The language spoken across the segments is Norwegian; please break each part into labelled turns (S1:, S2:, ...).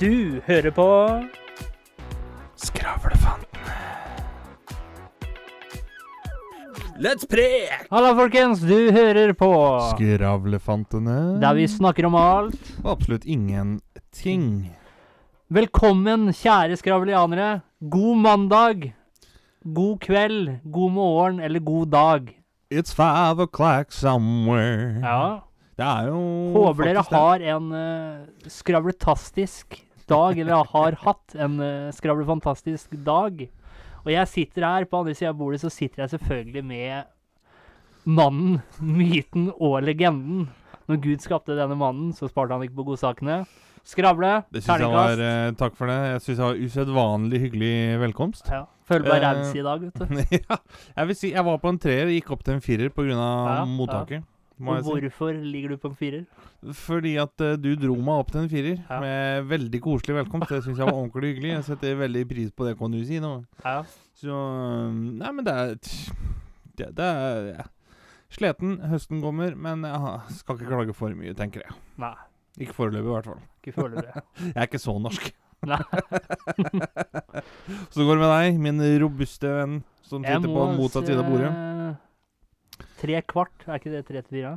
S1: Du hører på
S2: Skravlefantene. Let's prek!
S1: Halla, folkens! Du hører på
S2: Skravlefantene.
S1: Der vi snakker om alt.
S2: Og absolutt ingenting.
S1: Velkommen, kjære skravelianere. God mandag. God kveld, god morgen eller god dag.
S2: It's five o'clock somewhere.
S1: Ja.
S2: Det er jo
S1: Håper dere
S2: faktisk det.
S1: har en eh, skravletastisk dag, eller har hatt en eh, skravlefantastisk dag. Og jeg sitter her, på andre sida av bordet, så sitter jeg selvfølgelig med mannen, myten og legenden. Når Gud skapte denne mannen, så sparte han ikke på godsakene. Skravle,
S2: Det synes jeg
S1: terningkast.
S2: var eh, Takk for det. Jeg syns det var usedvanlig hyggelig velkomst.
S1: Ja, føler meg
S2: Eh,
S1: raus i dag, vet du.
S2: ja. Jeg vil si jeg var på en treer og gikk opp til en firer pga.
S1: Ja,
S2: av
S1: ja.
S2: mottaket. Må
S1: Og
S2: jeg si.
S1: hvorfor ligger du på en firer?
S2: Fordi at eh, du dro meg opp til en firer
S1: Ja.
S2: med veldig koselig velkomst. Det syns jeg var ordentlig hyggelig. Jeg setter veldig pris på det, kan du si. nå.
S1: Ja.
S2: Så um, Nei, men det er tsk, Det, det er ja. Sliten. Høsten kommer, men jeg har- skal ikke klage for mye, tenker jeg.
S1: Nei,
S2: Ikke foreløpig, i hvert fall.
S1: ikke føler det.
S2: Jeg er ikke så norsk.
S1: Nei.
S2: så går det med deg, min robuste venn, som sitter på motsatt side av bordet.
S1: eh, Tre kvart, er ikke det tre til fire?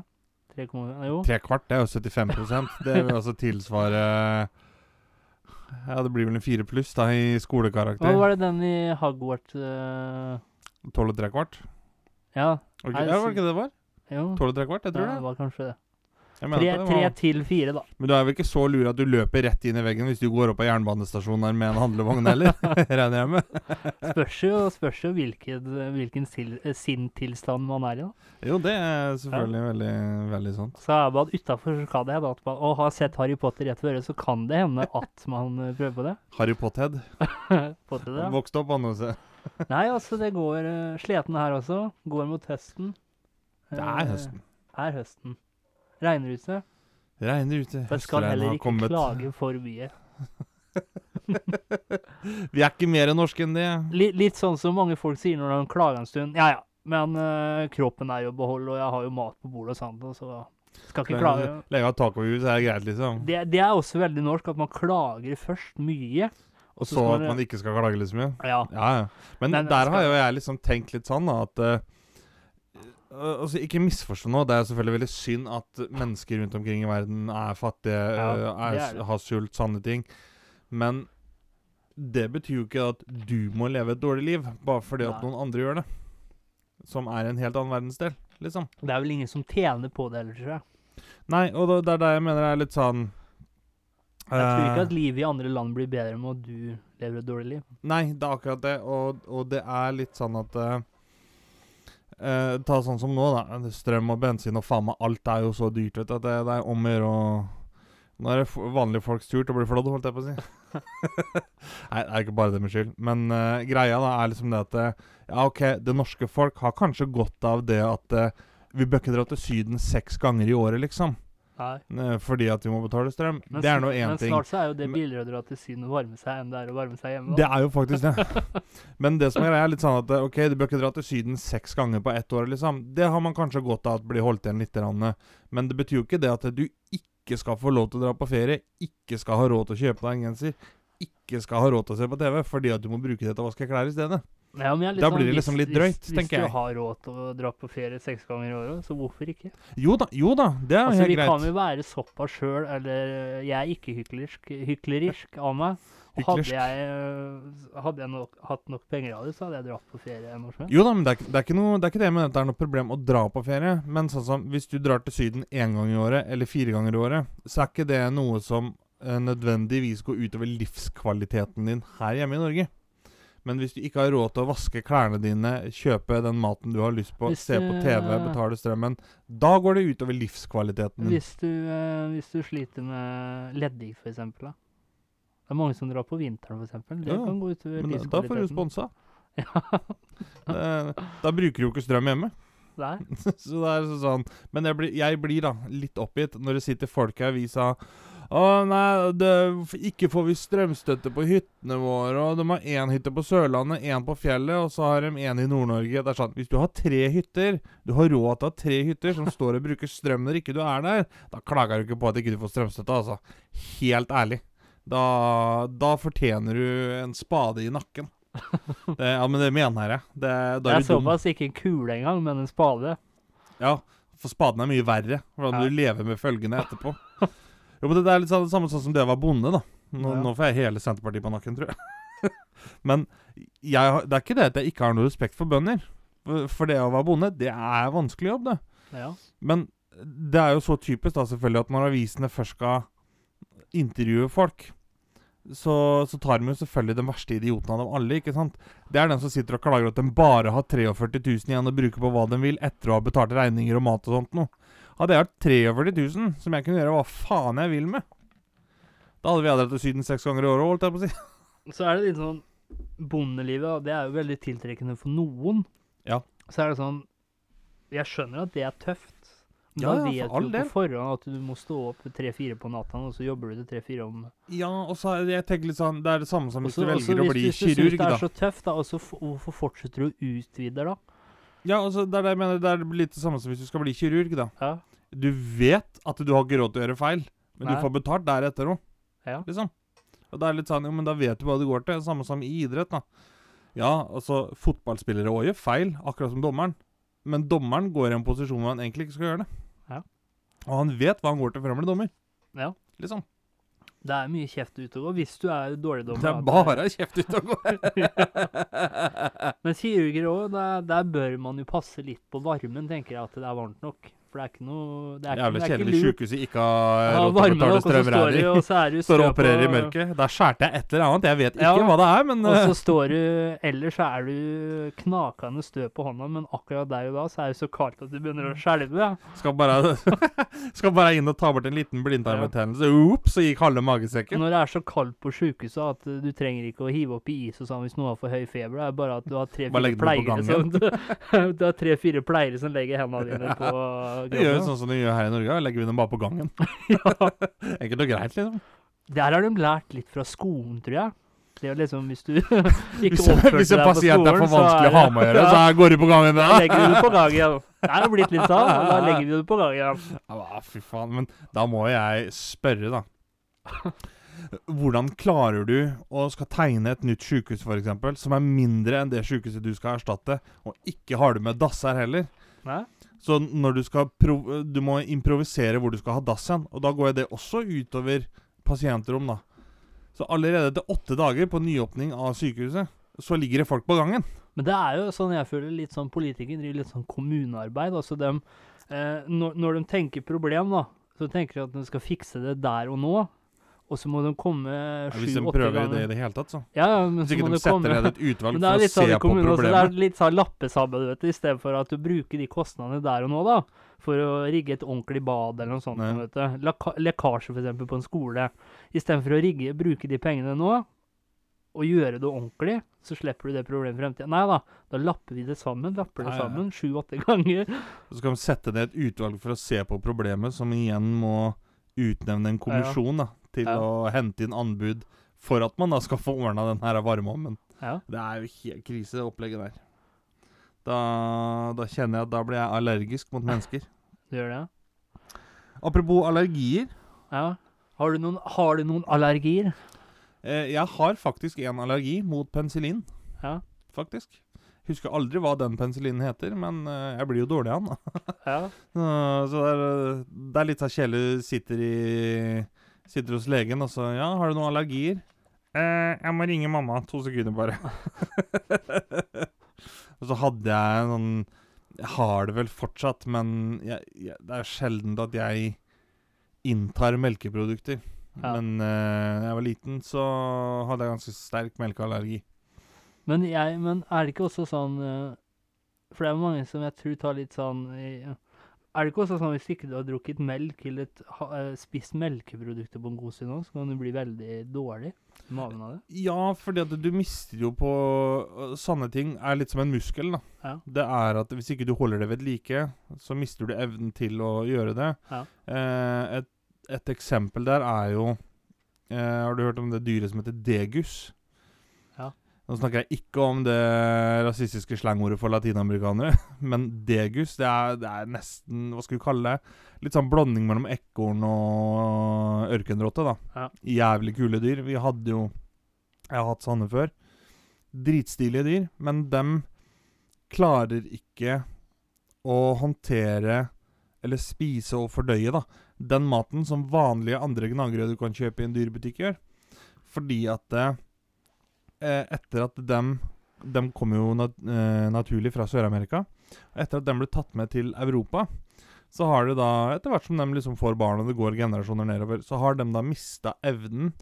S1: Tre komma- Jo.
S2: Tre kvart, det er jo 75 Det vil altså tilsvare Ja, det blir vel en fire pluss da i
S1: Hva
S2: skolekarakter.
S1: var det den i Hogwarts eh,
S2: Tolv og tre kvart?
S1: Ja,
S2: Var
S1: Nei,
S2: det ikke- ja, var det ikke det det var?
S1: jo.
S2: Tolv og tre kvart? Jeg tror
S1: det
S2: det.
S1: var kanskje det.
S2: Jeg mener
S1: Tre,
S2: at det
S1: tre
S2: var.
S1: til fire, da.
S2: Men du er vel ikke så lur at du løper rett inn i veggen hvis du går opp av jernbanestasjonen her med en handlevogn heller? Regner jeg med.
S1: Spørs jo, spørs jo hvilken, hvilken sil- eh, sinntilstand man er i, da.
S2: Jo, det er selvfølgelig veldig, veldig sant.
S1: Så er man utafor, så kan det hende at man Og har sett Harry Potter rett ved øret, så kan det hende at man eh, prøver på det.
S2: Harry Potthead.
S1: Potter,
S2: Ja.
S1: da.
S2: Vokste opp, han også.
S1: Nei, altså, det går eh, Sleten her også. Går mot høsten.
S2: Det
S1: Eh,
S2: er høsten.
S1: Er høsten. Regner ute.
S2: Regner ute.
S1: Men skal
S2: Høstregn
S1: heller
S2: har
S1: ikke
S2: kommet.
S1: klage for mye.
S2: Vi er ikke mer norske enn det.
S1: Litt, litt sånn som mange folk sier når de klager en stund. Ja, ja, men eh, kroppen er jo i behold, og jeg har jo mat på bordet og sånt, og så skal ikke klage.
S2: Legge av tak over huet, så er det greit, liksom.
S1: Det, det er også veldig norsk at man klager først mye.
S2: Og
S1: så
S2: så
S1: skal
S2: at
S1: det-
S2: man ikke skal klage litt så mye.
S1: Ja,
S2: Ja, ja. Men
S1: Nei, men
S2: der
S1: skal-
S2: har jo jeg liksom tenkt litt sånn, da, at eh, eh, Altså, ikke misforstå nå, det er selvfølgelig veldig synd at mennesker rundt omkring i verden er fattige,
S1: Ja,
S2: eh,
S1: det
S2: er,
S1: er det.
S2: har sult, sanne ting. Men det betyr jo ikke at du må leve et dårlig liv bare fordi at
S1: Nei.
S2: noen andre gjør det. Som er en helt annen verdensdel, liksom.
S1: det er vel ingen som tjener på det heller, tror jeg.
S2: Nei, og da- det er det jeg mener er litt sånn
S1: Jeg tror
S2: eh,
S1: ikke at livet i andre land blir bedre med at du lever et dårlig liv.
S2: Nei, det er akkurat det, og, og det er litt sånn at eh, eh, Ta sånn som nå, da. Strøm og bensin og faen meg alt er jo så dyrt, vet du. At det, det er om å gjøre å Nå er det f- vanlige folks tur til å bli flådd, holdt jeg på å si. Nei, det er ikke bare det med skyld. Men eh, greia da er liksom det at eh, Ja, OK, det norske folk har kanskje godt av det at eh, vi bør ikke dra til Syden seks ganger i året, liksom.
S1: Nei.
S2: eh, Fordi at vi må betale strøm.
S1: Men
S2: det
S1: sn-
S2: er nå én
S1: men
S2: ting.
S1: snart så er jo det
S2: Men-
S1: billigere å dra til Syden og varme seg enn det er å varme seg hjemme.
S2: Det
S1: Da.
S2: er jo faktisk det. Men det som er greia, er litt sånn at eh, OK, du bør ikke dra til Syden seks ganger på ett år, liksom. Det har man kanskje godt av at blir holdt igjen litt. grann, eh. Men det betyr jo ikke det at du ikke skal få lov til å dra på ferie, ikke skal ha råd til å kjøpe deg en genser, ikke skal ha råd til å se på TV, fordi at du må bruke det til å vaske klær i stedet.
S1: Ja, men jeg er litt sånn
S2: Da blir det
S1: hvis-
S2: liksom litt
S1: hvis-
S2: drøyt, tenker
S1: Hvis
S2: jeg.
S1: du har råd til å dra på ferie seks ganger i året, så hvorfor ikke?
S2: Jo da, jo da, det er jo
S1: Altså, vi
S2: helt greit.
S1: kan jo være såpass sjøl, eller øh, jeg er ikke hyklersk, hyklerisk av meg. Og hadde
S2: Hyklersk.
S1: jeg, øh, hadde jeg nok, hatt nok penger av det, så hadde jeg dratt på ferie en år siden.
S2: Jo da, men det er, ikke- det er ikke noe, det er ikke det med at det er noe problem å dra på ferie. Men sånn som hvis du drar til Syden én gang i året, eller fire ganger i året, så er ikke det noe som eh, nødvendigvis går utover livskvaliteten din her hjemme i Norge. Men hvis du ikke har råd til å vaske klærne dine, kjøpe den maten du har lyst på,
S1: Hvis
S2: se på
S1: du- eh,
S2: TV, betale strømmen, da går det utover livskvaliteten din.
S1: Hvis, du, øh, hvis du sliter med leddgikt, for eksempel. Da. Det er mange som drar på vinteren, for eksempel. Det
S2: Ja,
S1: kan gå utover
S2: Men da, da får du
S1: livskvaliteten.
S2: sponsa.
S1: Ja,
S2: Da, da bruker du jo ikke strøm hjemme.
S1: nei.
S2: Så det er så sånn Men jeg blir, jeg blir da litt oppgitt når det sitter folk i avisa Å nei, det, ikke får vi strømstøtte på hyttene våre, og de har én hytte på Sørlandet, én på fjellet, og så har de én i Nord-Norge. Det er sånn, Hvis du har tre hytter, du har råd til å ha tre hytter som står og bruker strøm når ikke du er der, da klager du ikke på at ikke du får strømstøtte, altså. Helt ærlig. da, da fortjener du en spade i nakken. Det, ja, men det mener jeg. Det, da
S1: Det
S2: er
S1: er
S2: du dum.
S1: såpass ikke en kule engang, men en spade.
S2: Ja, for spaden er mye verre. Hvordan
S1: Ja.
S2: du lever med følgene etterpå. Jo, men Det er litt sånn, samme sånn som det å være bonde, da. Nå,
S1: Ja.
S2: nå får jeg hele Senterpartiet på nakken, tror jeg. men jeg, har- det er ikke det at jeg ikke har noe respekt for bønder. For- For det å være bonde, det er en vanskelig jobb, det.
S1: Ja.
S2: Men det er jo så typisk da selvfølgelig at når avisene først skal intervjue folk, så, så tar de jo selvfølgelig den verste idioten av dem alle. ikke sant? Det er den som sitter og klager at de bare har 43 000 igjen å bruke på hva de vil etter å ha betalt regninger og mat og sånt noe. Hadde jeg hatt 43 000 som jeg kunne gjøre hva faen jeg vil med, da hadde vi alle dratt til Syden seks ganger i året, holdt jeg på å si.
S1: Så er det litt sånn Bondelivet, da, det er jo veldig tiltrekkende for noen.
S2: Ja.
S1: Så er det sånn Jeg skjønner at det er tøft. Men
S2: Ja,
S1: da
S2: ja,
S1: vet
S2: for all
S1: du
S2: del.
S1: på forhånd at du må stå opp tre-fire på natta, og så jobber du til tre-fire om
S2: Ja, og så er- jeg tenker litt sånn, det er det samme som hvis
S1: Også-
S2: du
S1: også
S2: velger å bli
S1: Hvis du syns
S2: kirurg,
S1: det
S2: da.
S1: er så tøft, da, og så f- hvorfor fortsetter du å utvide, da?
S2: Ja, og så det er det jeg mener, det er litt det samme som hvis du skal bli kirurg, da.
S1: Ja.
S2: du vet at du har ikke råd til å gjøre feil, men
S1: Nei.
S2: du får betalt deretter òg,
S1: Ja.
S2: liksom. Og det er litt sånn, jo, men da vet du hva det går til. Samme som i idrett, da. Ja, altså, fotballspillere òg gjør feil, akkurat som dommeren. Men dommeren går i en posisjon hvor han egentlig ikke skal gjøre det.
S1: Ja.
S2: Og han vet hva han går til før han blir dommer.
S1: Ja.
S2: Liksom.
S1: Det er mye kjeft ute og gå hvis du er dårlig dommer.
S2: Det
S1: da,
S2: er bare kjeft ut og går.
S1: Men kirurger òg, der, der bør man jo passe litt på varmen, tenker jeg, at det er varmt nok. For det er ikke noe Det er, ikke-
S2: Jævlig
S1: det er
S2: kjedelig
S1: ikke lurt.
S2: sjukehuset ikke har
S1: Ja,
S2: råd til å
S1: varme nok,
S2: betale
S1: og så står du, og
S2: strømregning.
S1: så er du
S2: Står og
S1: stø på-
S2: opererer i mørket. Der skjærte jeg et eller annet. Jeg vet ikke
S1: Ja.
S2: hva det er, men
S1: Og
S2: eh,
S1: så står du Ellers så er du knakende stø på hånda, men akkurat der og da så er det så kaldt at du begynner å
S2: Mm.
S1: skjelve. ja.
S2: Skal bare, skal bare inn og ta bort en liten blindtarmbetennelse. Ops, så gikk halve magesekken.
S1: Når det er så kaldt på sjukehuset at uh, du trenger ikke å hive opp i is og sånn hvis noen har for høy feber. Det er bare at du har
S2: Bare
S1: tre-fire
S2: legge det på
S1: pleiere, som- du har tre-fire pleiere som legger hendene dine på
S2: Det gjør jo
S1: kroppen.
S2: sånn som de gjør her i Norge. Legger vi dem bare på gangen. Enkelt og greit, liksom.
S1: Der har de lært litt fra skolen, tror jeg. Det er jo liksom hvis du ikke
S2: Hvis en,
S1: oppførte
S2: hvis en
S1: deg på
S2: pasient
S1: skolen,
S2: er for
S1: så
S2: vanskelig å ha med å gjøre,
S1: ja,
S2: så går de på gangen.
S1: da legger du det på gang igjen. Det er jo blitt litt sånn, og da legger vi det på gang igjen.
S2: Ja, hva, fy faen. Men da må jeg spørre, da. Hvordan klarer du å skal tegne et nytt sykehus, f.eks., som er mindre enn det sykehuset du skal erstatte, og ikke har du med dasser heller?
S1: Nei?
S2: Så når du skal prov Du må improvisere hvor du skal ha dass hen. Og da går det også utover pasientrom, da. Så allerede etter åtte dager på nyåpning av sykehuset, så ligger det folk på gangen.
S1: Men det er jo sånn jeg føler litt sånn politikere driver litt sånn kommunearbeid. Altså dem, eh, når, når de tenker problem, da, så tenker de at de skal fikse det der og nå. Og så må de komme
S2: hvis de
S1: sju-åtte
S2: prøver det
S1: ganger.
S2: i det hele tatt, så.
S1: Ja, ja, men
S2: Hvis
S1: så
S2: ikke
S1: må
S2: de
S1: de
S2: setter ned
S1: komme.
S2: et utvalg
S1: Men det er
S2: for å
S1: litt sånn
S2: se
S1: i
S2: på
S1: kommunen også. Det er
S2: problemet.
S1: litt sånn lappesamme, du vet. I stedet for at du bruker de kostnadene der og nå, da. For å rigge et ordentlig bad eller noe sånt.
S2: Nei.
S1: Vet du. Laka- Lekkasje, for eksempel, på en skole. Istedenfor å rigge, bruke de pengene nå, og gjøre det ordentlig, så slipper du det problemet i fremtiden. Nei da, da lapper vi det sammen. Lapper det
S2: Ja, ja, ja.
S1: sammen sju-åtte ganger.
S2: Så skal de sette ned et utvalg for å se på problemet, som igjen må utnevne en kommisjon da, til
S1: Ja.
S2: å hente inn anbud for at man da skal få ordna den her varmeovnen.
S1: Ja.
S2: Det er jo helt krise, det opplegget der. Da, da kjenner jeg at da blir jeg allergisk mot mennesker.
S1: Du gjør det?
S2: Apropos allergier.
S1: Ja. Har du noen, har du noen allergier?
S2: Eh, jeg har faktisk en allergi mot penicillin.
S1: Ja.
S2: Faktisk. Husker aldri hva den penicillinen heter, men eh, jeg blir jo dårlig av den. da.
S1: Ja.
S2: Eh, så det er, eh, det er litt sånn kjedelig sitter, i- sitter hos legen og så Ja, har du noen allergier? Eh, jeg må ringe mamma. To sekunder, bare. og så hadde jeg en sånn Jeg har det vel fortsatt, men jeg, jeg, det er sjelden at jeg inntar melkeprodukter.
S1: Ja.
S2: Men eh, da jeg var liten, så hadde jeg ganske sterk melkeallergi.
S1: Men, jeg, men er det ikke også sånn eh, For det er jo mange som jeg tror tar litt sånn i- Er det ikke også sånn hvis ikke du har drukket melk eller et, ha- eh, spist melkeprodukter på en god stund nå, så kan du bli veldig dårlig i magen av det?
S2: Ja, fordi at du mister jo på øh, Sanne ting er litt som en muskel, da.
S1: Ja.
S2: Det er at hvis ikke du holder det ved like, så mister du evnen til å gjøre det.
S1: Ja.
S2: Eh, et, et eksempel der er jo eh, Har du hørt om det dyret som heter degus?
S1: Ja.
S2: Nå snakker jeg ikke om det rasistiske slangordet for latinamerikanere, men degus, det er, det er nesten Hva skal vi kalle det? Litt sånn blanding mellom ekorn og ørkenrotte, da.
S1: Ja.
S2: Jævlig kule dyr. Vi hadde jo Jeg har hatt sånne før. Dritstilige dyr, men dem klarer ikke å håndtere eller spise og fordøye, da, den maten som vanlige andre gnagere du kan kjøpe i en dyrebutikk, gjør. Fordi at eh, eh, etter at dem De kom jo nat eh, naturlig fra Sør-Amerika. Og etter at de ble tatt med til Europa, så har det da Etter hvert som de liksom får barn, og det går generasjoner nedover, så har de da mista evnen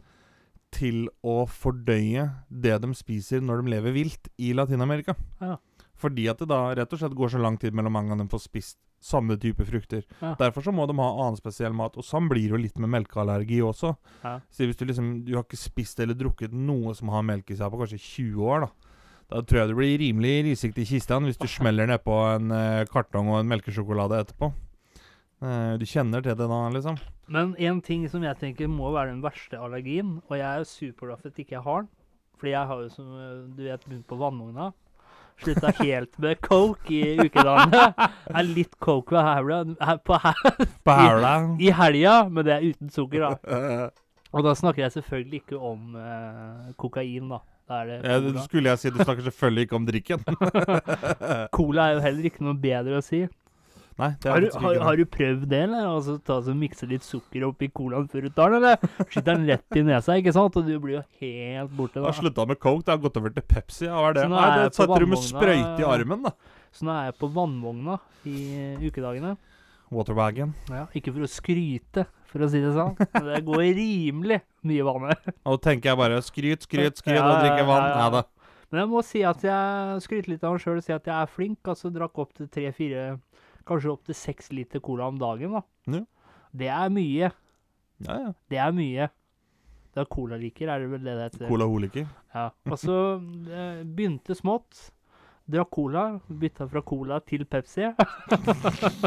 S2: til å fordøye det de spiser når de lever vilt i Latin-Amerika.
S1: Ja.
S2: Fordi at det da rett og slett går så lang tid mellom mange av dem får spist samme type frukter.
S1: Ja.
S2: Derfor så må de ha annen spesiell mat, og sånn blir det jo litt med melkeallergi også.
S1: Ja.
S2: Så hvis du liksom Du har ikke spist eller drukket noe som har melk i seg på kanskje 20 år, da. Da tror jeg du blir rimelig risigt i kista hvis du smeller nedpå en eh, kartong og en melkesjokolade etterpå. Eh, du kjenner til det da, liksom.
S1: Men en ting som jeg tenker må være den verste allergien, og jeg er jo superglad for at ikke jeg har den, fordi jeg har jo som eh, du vet begynt på vannmogna. Slutta helt med coke i ukedagene. Er litt coke ved hæla her- på hæ-
S2: På hæla.
S1: i helga, men det er uten sukker, da. Og da snakker jeg selvfølgelig ikke om eh, kokain, da. Da er det
S2: Ja, det
S1: cola.
S2: skulle jeg si. Du snakker selvfølgelig ikke om drikken.
S1: cola er jo heller ikke noe bedre å si.
S2: Nei, det
S1: Har
S2: er
S1: du,
S2: faktisk
S1: har,
S2: ikke
S1: har du prøvd det, eller? Altså, ta så Mikse litt sukker oppi colaen før du tar den, eller? Skyter den rett i nesa, ikke sant? Og du blir jo helt borte
S2: Jeg
S1: da.
S2: har slutta med coke, det har gått over til Pepsi. Ja, hva er det?
S1: Så nå
S2: Nei,
S1: er
S2: det
S1: jeg på
S2: setter du med
S1: vannvogna-
S2: sprøyte i armen, da.
S1: Så nå er jeg på vannvogna i eh, ukedagene.
S2: Waterwagon.
S1: Ja, ikke for å skryte, for å si det sånn. Men det går rimelig mye vann her.
S2: Og da tenker jeg bare skryt, skryt, skryt
S1: Ja,
S2: og drikke vann.
S1: ja, ja.
S2: Nei da.
S1: Men jeg må si at jeg skryter litt av meg sjøl og si at jeg er flink. Altså drakk opp til tre-fire, kanskje opp til seks liter cola om dagen, da.
S2: Ja.
S1: Det er mye.
S2: Ja, ja.
S1: Det er mye. Det er colaliker, er det vel det det heter?
S2: Colaholiker.
S1: Ja, og så eh, begynte smått. Drakk cola, bytta fra cola til Pepsi.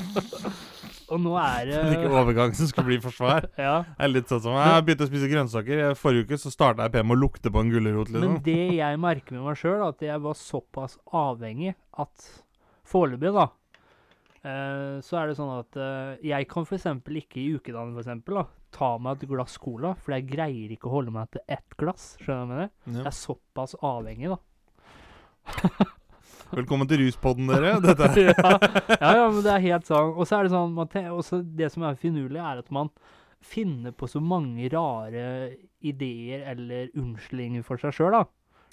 S1: og nå er det
S2: Hvilken overgang som skulle bli forsvar.
S1: ja,
S2: Det er litt sånn som Jeg begynte å spise grønnsaker. Jeg- Forrige uke så starta jeg P med å lukte på en gulrot.
S1: Men
S2: Liksom.
S1: det jeg merker med meg sjøl, at jeg var såpass avhengig at foreløpig, da, eh, så er det sånn at eh, jeg kan f.eks. ikke i ukedagene, for eksempel, da, ta meg et glass cola, for jeg greier ikke å holde meg til ett glass. Skjønner du hva jeg mener?
S2: Ja.
S1: Jeg er såpass avhengig, da.
S2: Velkommen til ruspodden, dere. Dette er
S1: ja, ja, ja, men det er helt sånn. Og så er det sånn man te- også Det som er finurlig, er at man finner på så mange rare ideer eller unnskyldninger for seg sjøl, da.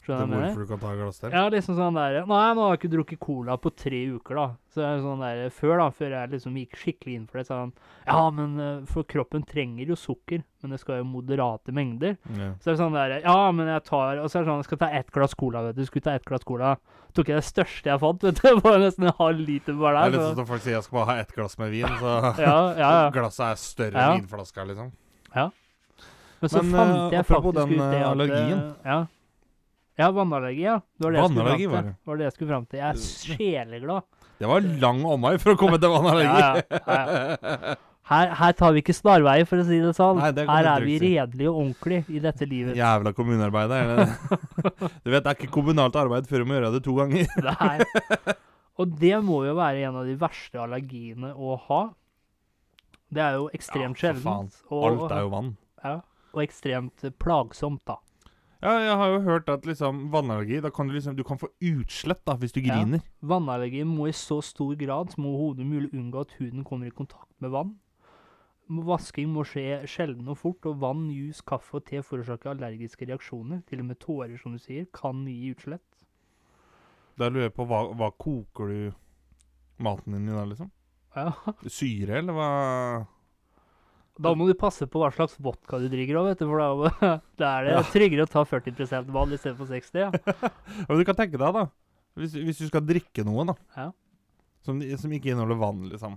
S1: Skjønner du hva jeg mener?
S2: hvorfor du kan ta et glass til.
S1: Ja, liksom sånn der Nei, nå har jeg ikke drukket cola på tre uker, da. Så er det sånn der Før, da, før jeg liksom gikk skikkelig inn for det, sånn Ja, men eh, for kroppen trenger jo sukker, men det skal jo moderate mengder.
S2: Ja.
S1: Så er det sånn der, ja, men jeg tar, og så er det sånn, jeg skal ta ett glass cola, vet du, skulle ta ett glass cola. Tok jeg det største jeg fant, vet du, det var nesten en halv liter
S2: Det
S1: bare
S2: er litt sånn
S1: der. Så.
S2: som folk sier jeg skal bare ha ett glass med vin, så
S1: Ja, ja, ja.
S2: glasset er større
S1: Ja.
S2: enn vinflaska, liksom.
S1: Men så
S2: Men, eh,
S1: fant jeg
S2: apropos
S1: faktisk
S2: den,
S1: ut det
S2: eh,
S1: at...
S2: allergien.
S1: eh, Ja. Ja, vannallergi, ja. Det var det jeg skulle fram
S2: Vannallergi
S1: til.
S2: var det.
S1: var det jeg skulle fram til. Jeg er sjeleglad.
S2: Det var lang omvei for å komme til
S1: Ja,
S2: vannallergi.
S1: ja, Her, her tar vi ikke snarveier, for å si det sånn.
S2: Nei, det kan
S1: her
S2: du
S1: er vi
S2: trygt si.
S1: redelige og ordentlige i dette livet.
S2: Jævla kommunearbeid. er det det? Du vet, det er ikke kommunalt arbeid før du må gjøre det to ganger.
S1: Nei. Og det må jo være en av de verste allergiene å ha. Det er jo ekstremt
S2: Ja, for faen.
S1: sjeldent. Og,
S2: Alt er jo vann.
S1: ja, og ekstremt plagsomt, da.
S2: Ja, jeg har jo hørt at liksom vannallergi Da kan du liksom Du kan få utslett da hvis du
S1: Ja.
S2: griner.
S1: Vannallergi må i så stor grad som overhodet mulig unngå at huden kommer i kontakt med vann. Vasking må skje sjelden og fort, og vann, juice, kaffe og te forårsaker allergiske reaksjoner. Til og med tårer, som du sier, kan gi utslett.
S2: Da lurer jeg på hva, hva koker du maten din i da, liksom?
S1: Ja.
S2: Syre, eller hva
S1: Da må du passe på hva slags vodka du drikker òg, vet du. For da, da er det
S2: Ja.
S1: tryggere å ta 40 vann istedenfor 60. Ja.
S2: Ja, Men du kan tenke deg, da. Hvis, hvis du skal drikke noe, da.
S1: Ja.
S2: Som, som ikke inneholder vann, liksom.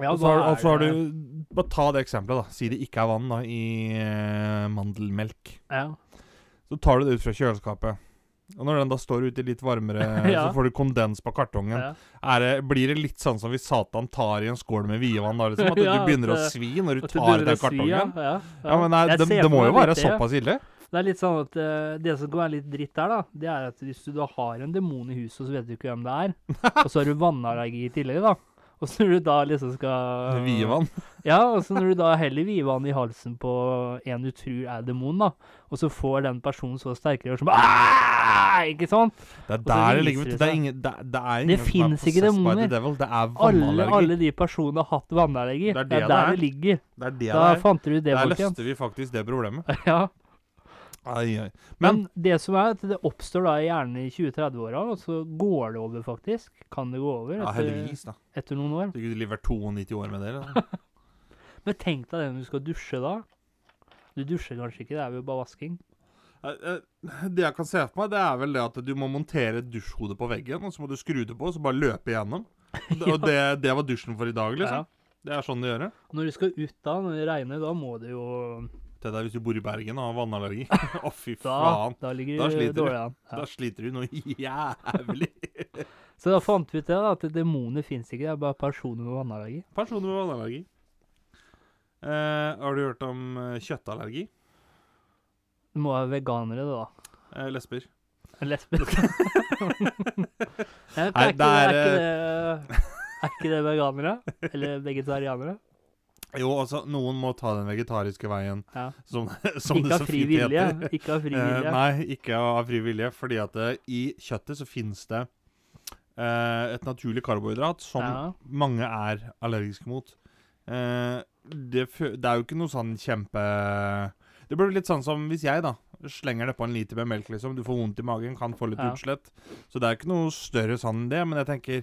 S1: Ja,
S2: og så
S1: hva
S2: har,
S1: er
S2: og så har
S1: det-
S2: du Bare ta det eksempelet, da. Si det ikke er vann da, i eh, mandelmelk.
S1: ja.
S2: Så tar du det ut fra kjøleskapet. Og når den da står ute litt varmere,
S1: Ja.
S2: så får du kondens på kartongen.
S1: Ja.
S2: Er det, blir det litt sånn som hvis Satan tar i en skål med videvann, da, liksom? At du
S1: Ja,
S2: begynner å
S1: at det-
S2: svi når du
S1: At du
S2: tar
S1: begynner å
S2: den
S1: svi, ja,
S2: kartongen?
S1: Ja,
S2: Ja, men nei,
S1: Jeg
S2: det,
S1: ser
S2: det
S1: for
S2: må
S1: meg
S2: jo være
S1: litt det, ja.
S2: såpass ille?
S1: Det er litt sånn at eh, Det som kan være litt dritt der, da, det er at hvis du da har en demon i huset, og så vet du ikke hvem det er, og så har du vannallergi i tillegg, da. Og så når du da liksom skal
S2: Vivan.
S1: Ja, og så når du da heller viver han i halsen på en du tror er demon, da, og så får den personen så sterkere som «Ah!» Ikke sant?
S2: Det er
S1: så
S2: der det
S1: viser
S2: ligger
S1: det
S2: vet du. Det
S1: seg.
S2: er ingen Det, det er
S1: Det
S2: ingen som er
S1: finnes ikke
S2: possessed by
S1: demoner.
S2: the devil. Det er
S1: Alle,
S2: vannallergi.
S1: alle de personene har hatt vannallergi.
S2: Det er det
S1: det,
S2: det
S1: er der
S2: er.
S1: det, ligger.
S2: Det er det
S1: da
S2: det er.
S1: fant dere ut det,
S2: Der
S1: folkens.
S2: løste vi faktisk det problemet.
S1: Ja.
S2: Ai, ai. Men,
S1: Men det som er, at det oppstår da gjerne i 20-30-åra, og så går det over, faktisk. Kan det gå over
S2: ja,
S1: etter,
S2: heldigvis, da.
S1: etter noen år?
S2: Du kunne levert 92 år med dere. da.
S1: Men tenk deg det når du skal dusje da. Du dusjer kanskje ikke, det er jo bare vasking.
S2: Eh, eh, Det jeg kan se for meg, det er vel det at du må montere et dusjhode på veggen, og så må du skru det på, og så bare løpe igjennom. Og det- Og det, det var dusjen for i dag, liksom. Det er sånn det gjør det.
S1: Når du skal ut da, når det regner, da må du jo
S2: Det der hvis du bor i Bergen og har vannallergi. Å, fy
S1: Da,
S2: faen.
S1: da ligger
S2: Da
S1: du
S2: sliter du.
S1: dårlig an. Ja.
S2: Da sliter du noe jævlig.
S1: Så da fant vi ut det, da, at demoner fins ikke, det er bare personer med vannallergi.
S2: Personer med vannallergi. Eh, har du hørt om eh, kjøttallergi?
S1: Det må være veganere, det, da.
S2: Eh, lesber.
S1: Lesber. Nei, men
S2: Nei,
S1: er, ikke,
S2: det
S1: er,
S2: er, eh,
S1: ikke det, er ikke det veganere? Eller vegetarianere?
S2: Jo, altså, noen må ta den vegetariske veien,
S1: Ja.
S2: som, som
S1: ikke
S2: det
S1: av
S2: så
S1: fri
S2: fint
S1: vilje.
S2: heter.
S1: Ikke av fri
S2: Eh,
S1: vilje.
S2: nei, ikke av fri vilje, fordi at eh, i kjøttet så finnes det eh, et naturlig karbohydrat som
S1: Ja.
S2: mange er allergiske mot. Eh, det, fø- det er jo ikke noe sånn kjempe... Det blir litt sånn som hvis jeg da, slenger det på en liter med melk, liksom. Du får vondt i magen, kan få litt
S1: Ja.
S2: utslett. Så det er ikke noe større sånn enn det, men jeg tenker...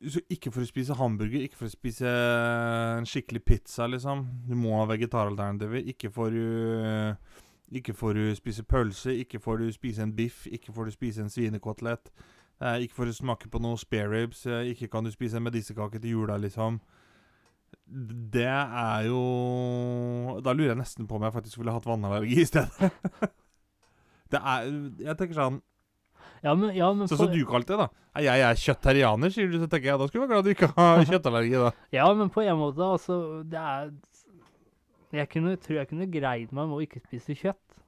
S2: Så ikke for å spise hamburger, ikke for å spise en skikkelig pizza, liksom. Du må ha vegetaralternativer. Ikke får du... eh, ikke får du spise pølse, ikke får du spise en biff, ikke får du spise en svinekotelett. Eh, ikke får du smake på noe spareribs, eh, ikke kan du spise en medisterkake til jula, liksom. Det er jo Da lurer jeg nesten på om jeg faktisk ville hatt vannallergi i stedet. Det er Jeg tenker sånn
S1: Ja, men, ja, men
S2: Sånn
S1: på-
S2: som du kalte det, da. Nei, Jeg er kjøtterianer, sier du. Så tenker jeg da skulle du være glad du ikke har kjøttallergi, da.
S1: Ja, men på en måte, altså Det er Jeg kunne, tror jeg kunne greid meg med å ikke spise kjøtt.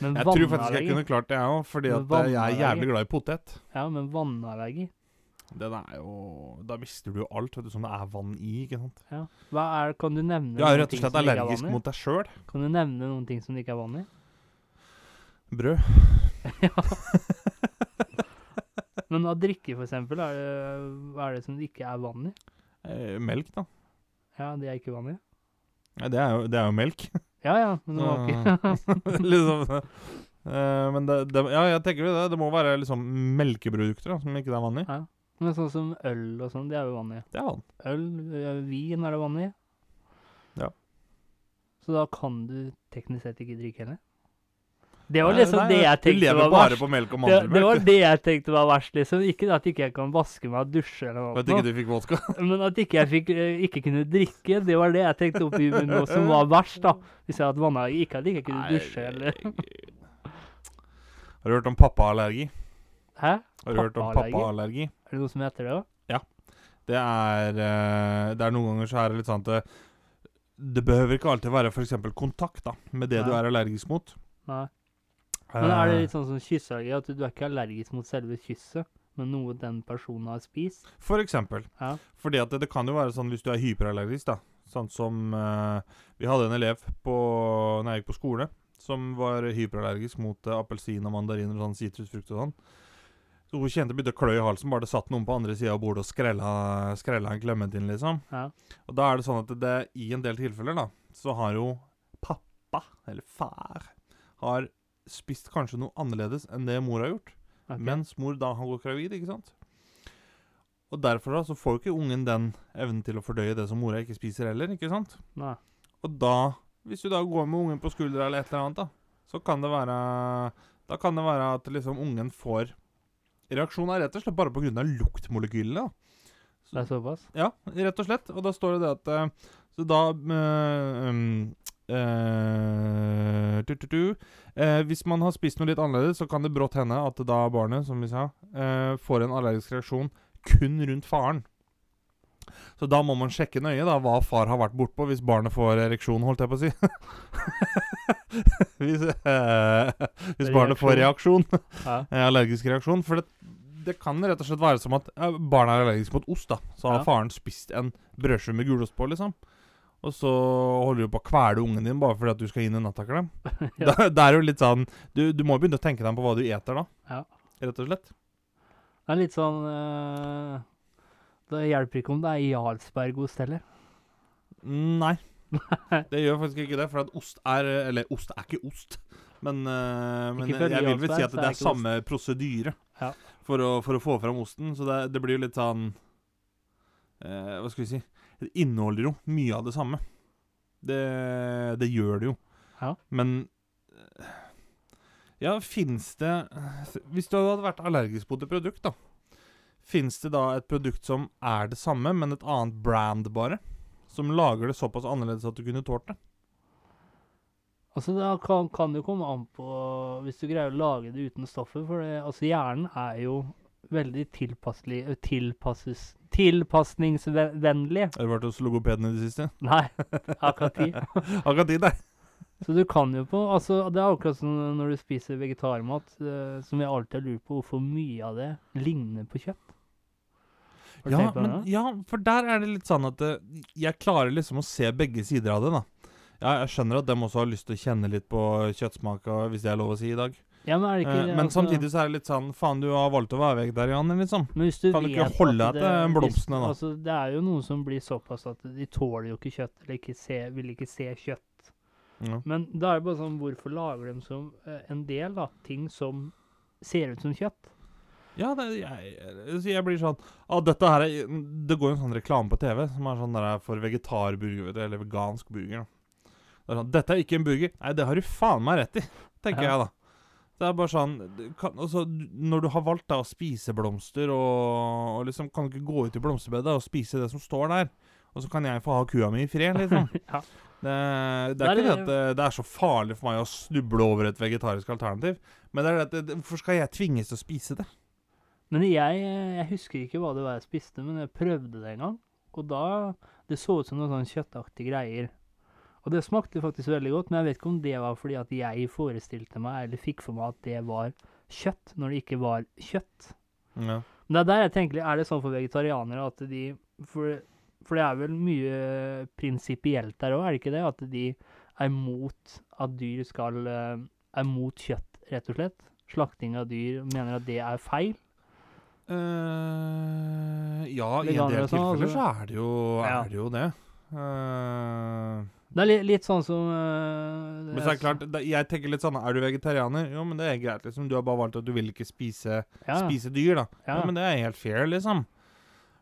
S1: Men
S2: Jeg tror faktisk jeg kunne klart det, jeg òg, fordi
S1: Men
S2: at eh, jeg er
S1: vannallergi?
S2: jævlig glad i potet.
S1: Ja, men vannallergi
S2: Den er jo Da mister du jo alt, vet du, som det er vann i, ikke sant?
S1: ja. Hva er, Kan du nevne
S2: Du er
S1: noen
S2: jo rett og
S1: ting
S2: slett
S1: som det ikke er
S2: allergisk
S1: vann i?
S2: mot deg sjøl.
S1: Kan du nevne noen ting som det ikke er vanlig?
S2: Brød.
S1: Men av drikke, for eksempel, er det, hva er det som det ikke er vanlig?
S2: Eh, melk, da.
S1: Ja, det er ikke vanlig.
S2: Nei, det, er jo, det er jo melk.
S1: Ja ja, men
S2: Ah.
S1: det var ikke
S2: liksom eh, Men det, det Ja, jeg tenker jo det. Det må være liksom melkeprodukter da, som ikke det er vann i.
S1: Men sånn som øl og sånn, det er jo vanlig.
S2: Det er vann.
S1: Øl, eh, vin er det vanlig.
S2: Ja.
S1: Så da kan du teknisk sett ikke drikke heller? Det var
S2: Nei,
S1: liksom
S2: nei,
S1: det jeg
S2: Du
S1: tenkte
S2: lever
S1: var
S2: bare
S1: verst.
S2: på melk og
S1: Det, det var
S2: mandelmelk.
S1: det jeg tenkte var verst, liksom. Ikke at ikke jeg kan vaske meg og dusje eller noe,
S2: Vet ikke du fikk vodka?
S1: men at ikke jeg fikk, eh, ikke kunne drikke, det var det jeg tenkte oppi meg nå som var verst, da. Hvis jeg hadde vanna ikke at jeg ikke kunne dusje eller
S2: Har du hørt om pappaallergi?
S1: Hæ?
S2: Har du hørt om
S1: Pappaallergi?
S2: pappaallergi?
S1: Er det noe som heter det òg?
S2: Det er, eh, det er noen ganger så er det litt sånn at det, det behøver ikke alltid være f.eks. kontakt da, med det du
S1: Nei.
S2: er allergisk mot.
S1: Nei. Men er det
S2: Eh,
S1: litt sånn som kysseallergi, at du er ikke allergisk mot selve kysset, men noe den personen har spist?
S2: For eksempel.
S1: Ja.
S2: Fordi at det, det kan jo være sånn hvis du er hyperallergisk, da. Sånn som eh, Vi hadde en elev på, når jeg gikk på skole som var hyperallergisk mot eh, appelsin og mandarin og sånn sitrusfrukt og sånn. Så hun kjente begynte å klø i halsen, bare det satt noen på andre sida av bordet og skrella, skrella en clementin, liksom.
S1: Ja.
S2: Og da er det sånn at det, i en del tilfeller, da, så har jo pappa, eller far, har spist kanskje noe annerledes enn det mor har gjort.
S1: Ok.
S2: Mens mor da har gått gravid, ikke sant? Og derfor da, så får jo ikke ungen den evnen til å fordøye det som mora ikke spiser heller, ikke sant?
S1: Nei.
S2: Og da, hvis du da går med ungen på skuldra eller et eller annet da, så kan det være, da kan det være at liksom ungen får reaksjon er rett og slett bare på grunn av luktmolekylene da.
S1: Det er såpass?
S2: Ja, rett og slett. Og da står det det at eh, Så da eh, um, eh, tu, tu, tu. Eh, Hvis man har spist noe litt annerledes, så kan det brått hende at da barnet, som vi sa, eh, får en allergisk reaksjon kun rundt faren. Så da må man sjekke nøye da hva far har vært bortpå, hvis barnet får ereksjon, holdt jeg på å si. hvis, eh, hvis barnet får reaksjon,
S1: Ja.
S2: eh, allergisk reaksjon. For det, det kan rett og slett være som at eh, barnet er allergisk mot ost, da. Så har
S1: Ja.
S2: faren spist en brødskive med gulost på, liksom. Og så holder du på å kvele ungen din bare fordi at du skal inn i nattaklem.
S1: Ja.
S2: det, det er jo litt sånn du, du må begynne å tenke deg på hva du eter, da.
S1: Ja.
S2: Rett og slett.
S1: Det er litt sånn eh, Det hjelper ikke om det er Jarlsbergost heller.
S2: Nei. Det gjør faktisk ikke det, for at ost er Eller ost er ikke ost, men, eh, men
S1: Ikke for
S2: jeg vil vel si
S1: Jarlsberg,
S2: at
S1: så er
S2: det er
S1: ikke ost.
S2: samme prosedyre
S1: Ja.
S2: for, å, for å få fram osten. Så det, det blir jo litt sånn eh, Hva skal vi si Det inneholder jo mye av det samme. Det, det gjør det jo.
S1: Ja.
S2: Men eh, Ja, fins det eh, Hvis du hadde vært allergisk mot et produkt, da. Fins det da et produkt som er det samme, men et annet brand, bare? Som lager det såpass annerledes at du kunne tålt det?
S1: Altså, det kan, kan jo komme an på hvis du greier å lage det uten stoffet. For det, altså, hjernen er jo veldig tilpasselig ø, tilpasses, Tilpasningsvennlig.
S2: Har du vært hos logopeden i det siste?
S1: Nei, akkurat de.
S2: Akkurat de der.
S1: Så du kan jo på altså, Det er akkurat som når du spiser vegetarmat, eh, som jeg alltid har lurt på hvorfor mye av det ligner på kjøtt. Har du
S2: Ja,
S1: tenkt på det?
S2: men, ja, for der er det litt sånn at eh, jeg klarer liksom å se begge sider av det, da. Ja, jeg skjønner at dem også har lyst til å kjenne litt på kjøttsmaka, hvis det er lov å si i dag.
S1: ja, men, er det ikke,
S2: Eh, men
S1: altså-
S2: samtidig så er det litt sånn Faen, du har valgt å være vegetarianer, liksom.
S1: Men hvis du
S2: Kan du
S1: vet
S2: ikke holde
S1: at
S2: deg til
S1: det- hvis-
S2: blomstene, da?
S1: Altså, det er jo noen som blir såpass at de tåler jo ikke kjøtt, eller ikke se, vil ikke se kjøtt.
S2: Ja.
S1: Men da er det bare sånn, hvorfor lager de som eh, en del da, ting som ser ut som kjøtt?
S2: Ja, det, jeg, så jeg blir sånn ah, dette her er, Det går jo en sånn reklame på TV som er sånn der for vegetarburger, vet du, eller vegansk burger. Da. Det er sånn, dette er ikke en burger. Nei, det har du faen meg rett i, tenker
S1: Ja.
S2: jeg da. Det er bare sånn du kan, altså, du- Når du har valgt da å spise blomster, og, og liksom kan du ikke gå ut i blomsterbedet og spise det som står der, og så kan jeg få ha kua mi i fred, liksom.
S1: Ja.
S2: Det, det
S1: Der
S2: er ikke det
S1: er-
S2: at det, det er så farlig for meg å snuble over et vegetarisk alternativ, men det er det at eh, det- det- Hvorfor skal jeg tvinges til å spise det?
S1: Men jeg, eh, jeg husker ikke hva det var jeg spiste, men jeg prøvde det en gang. Og da Det så ut som noen sånn kjøttaktige greier. Og det smakte faktisk veldig godt, men jeg vet ikke om det var fordi at jeg forestilte meg, eller fikk for meg at det var kjøtt, når det ikke var kjøtt.
S2: Ja.
S1: Men det er der jeg tenker, er det sånn for vegetarianere at de For, for det er vel mye prinsipielt der òg, er det ikke det? At de er mot at dyr skal eh, Er mot kjøtt, rett og slett. Slakting av dyr mener at det er feil.
S2: eh ja, i en
S1: Veganere
S2: del
S1: og sånn,
S2: tilfeller
S1: altså.
S2: så er det jo,
S1: Ja.
S2: er det, jo det. Eh,
S1: Det er litt, litt sånn som eh,
S2: men så er det klart, det, jeg tenker litt sånn Er du vegetarianer? Jo, men det er greit, liksom. Du har bare valgt at du vil ikke spise,
S1: ja,
S2: spise dyr, da. Ja.
S1: ja.
S2: men det er helt fair, liksom.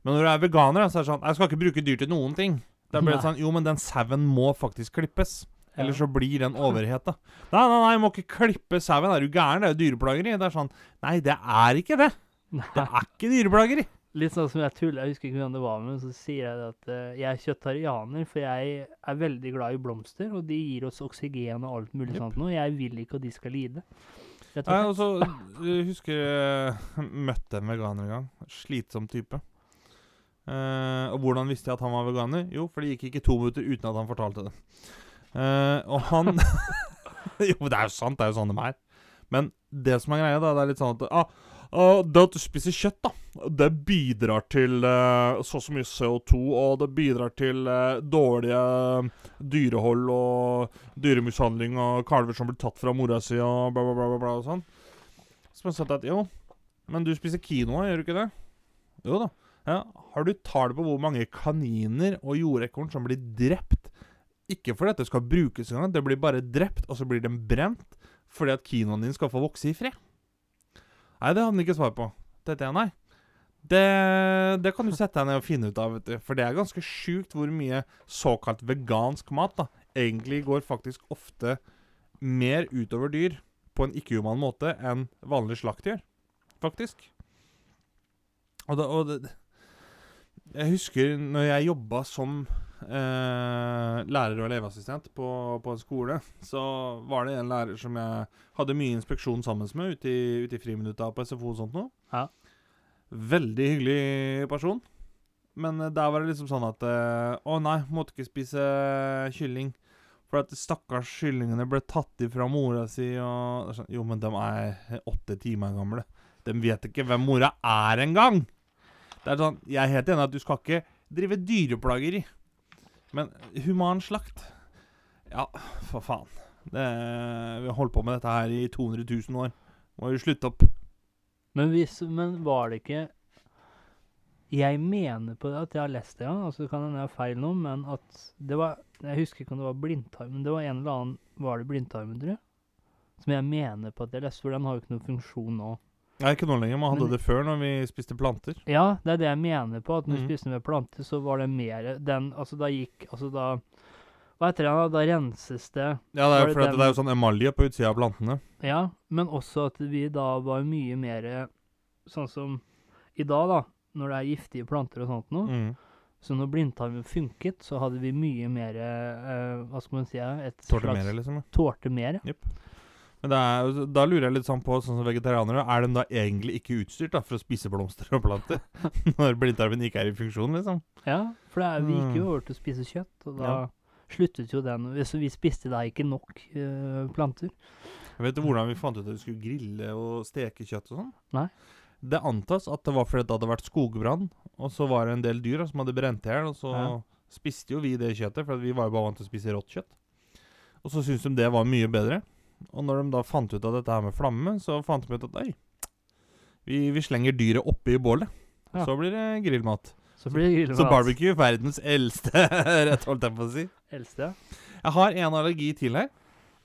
S2: Men når du er veganer, da, så er det sånn Jeg skal ikke bruke dyr til noen ting. Da blir det
S1: Nei.
S2: sånn Jo, men den sauen må faktisk klippes.
S1: Ja.
S2: Ellers så blir den overhet, da. Nei, nei, nei, jeg må ikke klippe sauen. Er du gæren? Det er jo dyreplageri. Det er sånn Nei, det er ikke det. Det er ikke dyreplageri.
S1: Litt sånn som jeg tuller, jeg husker ikke hvem det var med, men så sier jeg det at eh, jeg er kjøttarianer, for jeg er veldig glad i blomster, og de gir oss oksygen og alt mulig
S2: Jepp.
S1: sånt noe. Jeg vil ikke at de skal lide. Rett og
S2: Nei, altså-
S1: slett.
S2: og så jeg husker jeg møtte en veganer en gang. Slitsom type. Eh, og hvordan visste jeg at han var veganer? Jo, for det gikk ikke to minutter uten at han fortalte det. Eh, og han Jo, men det er jo sant, det er jo sånn de er. Men det som er greia, da, det er litt sånn at ah, ah, Det at du spiser kjøtt, da, det bidrar til eh, så og så mye CO2, og det bidrar til eh, dårlige eh, dyrehold og dyremishandling og kalver som blir tatt fra mora si og bla, bla, bla, bla, bla og sånn. Så man sa at jo, men du spiser quinoa, gjør du ikke det? Jo da. Ja, har du tall på hvor mange kaniner og jordekorn som blir drept? Ikke fordi at det skal brukes engang, det blir bare drept, og så blir den brent fordi at quinoen din skal få vokse i fred. Nei, det hadde han ikke svar på. Dette er nei. Det, det kan du sette deg ned og finne ut av, vet du. For det er ganske sjukt hvor mye såkalt vegansk mat da, egentlig går faktisk ofte mer utover dyr på en ikke-human måte enn vanlig slakt gjør, faktisk. Og, da, og det, jeg husker når jeg jobba som eh, lærer og elevassistent på, på en skole, så var det en lærer som jeg hadde mye inspeksjon sammen med ute i, ute i friminutta på SFO og sånt noe.
S1: Ja.
S2: Veldig hyggelig person. Men eh, der var det liksom sånn at eh, Å nei, måtte ikke spise kylling. For at stakkars kyllingene ble tatt ifra mora si og sånn, Jo, men de er åtte timer gamle. De vet ikke hvem mora er engang! Det er sånn, Jeg er helt enig at du skal ikke drive dyreplageri. Men human slakt Ja, for faen. Det, vi har holdt på med dette her i 200 000 år. Må jo slutte opp.
S1: Men, hvis, men var det ikke Jeg mener på det at jeg har lest det en gang, og så kan hende jeg har feil nå, men at det var Jeg husker ikke om det var blindtarmen. Det var en eller annen Var det blindtarmen, tror jeg? Som jeg mener på at jeg leste, for den har jo ikke noen funksjon nå.
S2: Nei, ikke nå lenger. Man hadde
S1: Men-
S2: det før, når vi spiste planter.
S1: Ja, det er det jeg mener på, at når
S2: Mhm.
S1: du spiste med plante, så var det mer den Altså, da gikk Altså, da Hva heter det, da? Da renses det
S2: Ja, det er
S1: Var
S2: jo
S1: det
S2: fordi at
S1: den-
S2: det er jo sånn emalje på utsida av plantene.
S1: Ja, men også at vi da var mye mer sånn som i dag, da. Når det er giftige planter og sånt noe.
S2: Mm.
S1: Så når blindtarmen funket, så hadde vi mye mer eh, Hva skal man si? eh, Et
S2: Tålte
S1: slags
S2: mer, liksom. ja.
S1: Tålte mer. ja.
S2: Men det er, jo- da lurer jeg litt sånn på, sånn som vegetarianere, er de da egentlig ikke utstyrt da, for å spise blomster og planter? Når blindtarmen ikke er i funksjon, liksom.
S1: Ja, for det er, vi gikk jo
S2: Mm.
S1: over til å spise kjøtt, og da
S2: Ja.
S1: sluttet jo den. Så vi spiste da ikke nok eh, planter.
S2: Jeg vet du hvordan vi fant ut at vi skulle grille og steke kjøtt og sånn?
S1: Nei.
S2: Det antas at det var fordi det hadde vært skogbrann, og så var det en del dyr da, som hadde brent i hjel, og så
S1: Ja.
S2: spiste jo vi det kjøttet, for at vi var jo bare vant til å spise rått kjøtt. Og så syntes de det var mye bedre. Og når de da fant ut av dette her med flamme, så fant de ut at oi, vi, vi slenger dyret oppi bålet.
S1: Ja.
S2: Så blir det grillmat.
S1: Så blir det grillmat.
S2: Så barbecue, verdens eldste rett, holdt jeg på å si.
S1: Eldste.
S2: Jeg har en allergi til her,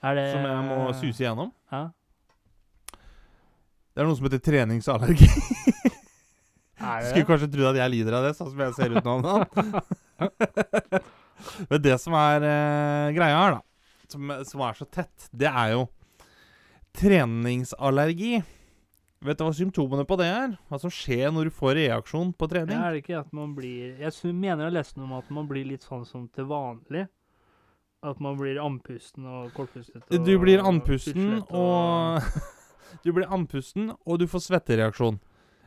S1: Er det
S2: som jeg må
S1: Eh.
S2: suse igjennom.
S1: Ja.
S2: Det er noe som heter treningsallergi.
S1: Er
S2: Skulle
S1: det?
S2: kanskje trodd at jeg lider av det, sånn som jeg ser ut nå. om dagen. Men det som er eh, greia her, da, som, som er så tett, det er jo treningsallergi. Vet du hva symptomene på det er? Hva som skjer når du får reaksjon på
S1: Ja,
S2: trening?
S1: er det ikke at man blir Jeg sy- mener jeg leste noe om at man blir litt sånn som til vanlig. At man blir andpusten og kortpustet. Og
S2: Du blir andpusten
S1: utslett
S2: og Du blir andpusten, og du får svettereaksjon.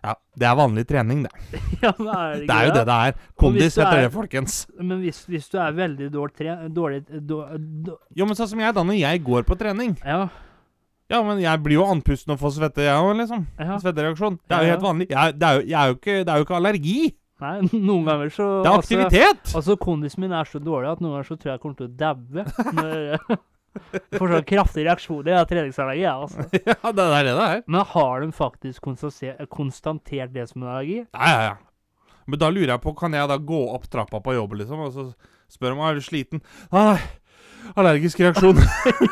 S2: Ja, det er vanlig trening, det.
S1: Ja, men er det,
S2: Det er jo det det
S1: Og
S2: er.
S1: hvis
S2: Kondis
S1: du
S2: heter
S1: er-
S2: det, folkens.
S1: Men hvis, hvis du er veldig dårlig, tre, dårlig då, då,
S2: Jo, men sånn som jeg da, når jeg går på trening
S1: Ja.
S2: Ja, men jeg blir jo andpusten og får svette, jeg òg, liksom.
S1: ja.
S2: Svettereaksjon. Det er jo
S1: Ja,
S2: helt vanlig. Jeg, det, er jo, jeg er jo ikke, det er jo ikke allergi.
S1: Nei, noen ganger så
S2: Det er aktivitet!
S1: Altså, altså, kondisen min er så dårlig at noen ganger så tror jeg jeg kommer til å daue. når jeg Får sånn sånne kraftige reaksjoner av treningsanlegget, jeg, altså.
S2: Ja, det er det det er.
S1: Men har de faktisk konstatert, konstatert det som en allergi?
S2: Ja, ja, ja. Men da lurer jeg på, kan jeg da gå opp trappa på jobb, liksom, og så spør om jeg er du sliten? Nei, allergisk reaksjon.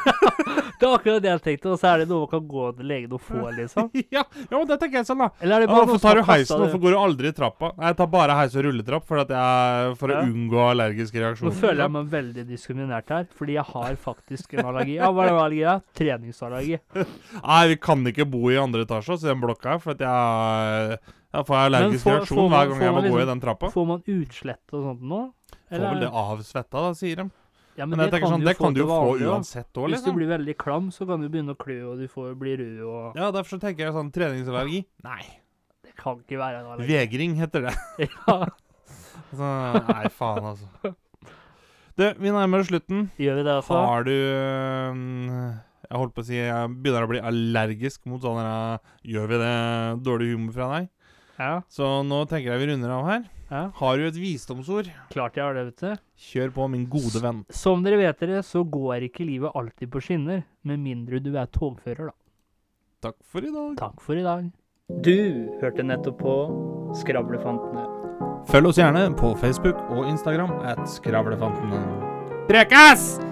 S1: Det er akkurat det jeg tenkte, og så er det noe man kan gå til legen og få, liksom.
S2: ja, ja, men det tenker jeg sånn, da.
S1: Eller er det
S2: Ja,
S1: bare noen
S2: hvorfor
S1: som
S2: tar du
S1: har kastet
S2: heisen?
S1: det?
S2: Hvorfor går du aldri i trappa? Nei, jeg tar bare heis og rulletrapp for, at jeg, for
S1: Ja.
S2: å unngå allergisk reaksjon.
S1: Nå føler jeg meg veldig diskriminert her, fordi jeg har faktisk en allergi. Ja, hva er den allergien? Treningsallergi.
S2: Nei, vi kan ikke bo i andre etasje, så den blokka her, for at jeg, jeg får allergisk
S1: får-
S2: reaksjon
S1: får man-
S2: hver gang
S1: får
S2: jeg må
S1: man
S2: gå i
S1: liksom-
S2: den trappa.
S1: Får man utslett og sånt nå?
S2: Får vel det av svetta, da, sier de.
S1: Ja,
S2: Men, jeg tenker sånn, det kan du jo få uansett òg,
S1: Hvis du
S2: liksom.
S1: blir veldig klam, så kan du begynne å klø, og du får bli rød, og
S2: Ja, derfor så tenker jeg sånn treningsallergi. Nei.
S1: Det kan ikke være en allergi.
S2: Vegring heter det.
S1: Ja,
S2: Så, nei, faen, altså. Du, vi nærmer oss slutten.
S1: gjør vi det, altså?
S2: Har du øhm, Jeg holdt på å si jeg begynner å bli allergisk mot sånn her, Gjør vi det dårlig humor fra deg?
S1: Ja,
S2: Så nå tenker jeg vi runder av her.
S1: ja.
S2: Har du et visdomsord?
S1: Klart jeg har det, vet du.
S2: Kjør på, min gode venn.
S1: Som dere vet dere, så går ikke livet alltid på skinner, med mindre du er togfører, da.
S2: Takk for i dag.
S1: Takk for i dag. Du hørte nettopp på Skravlefantene.
S2: Følg oss gjerne på Facebook og Instagram at Skravlefantene. Prekas!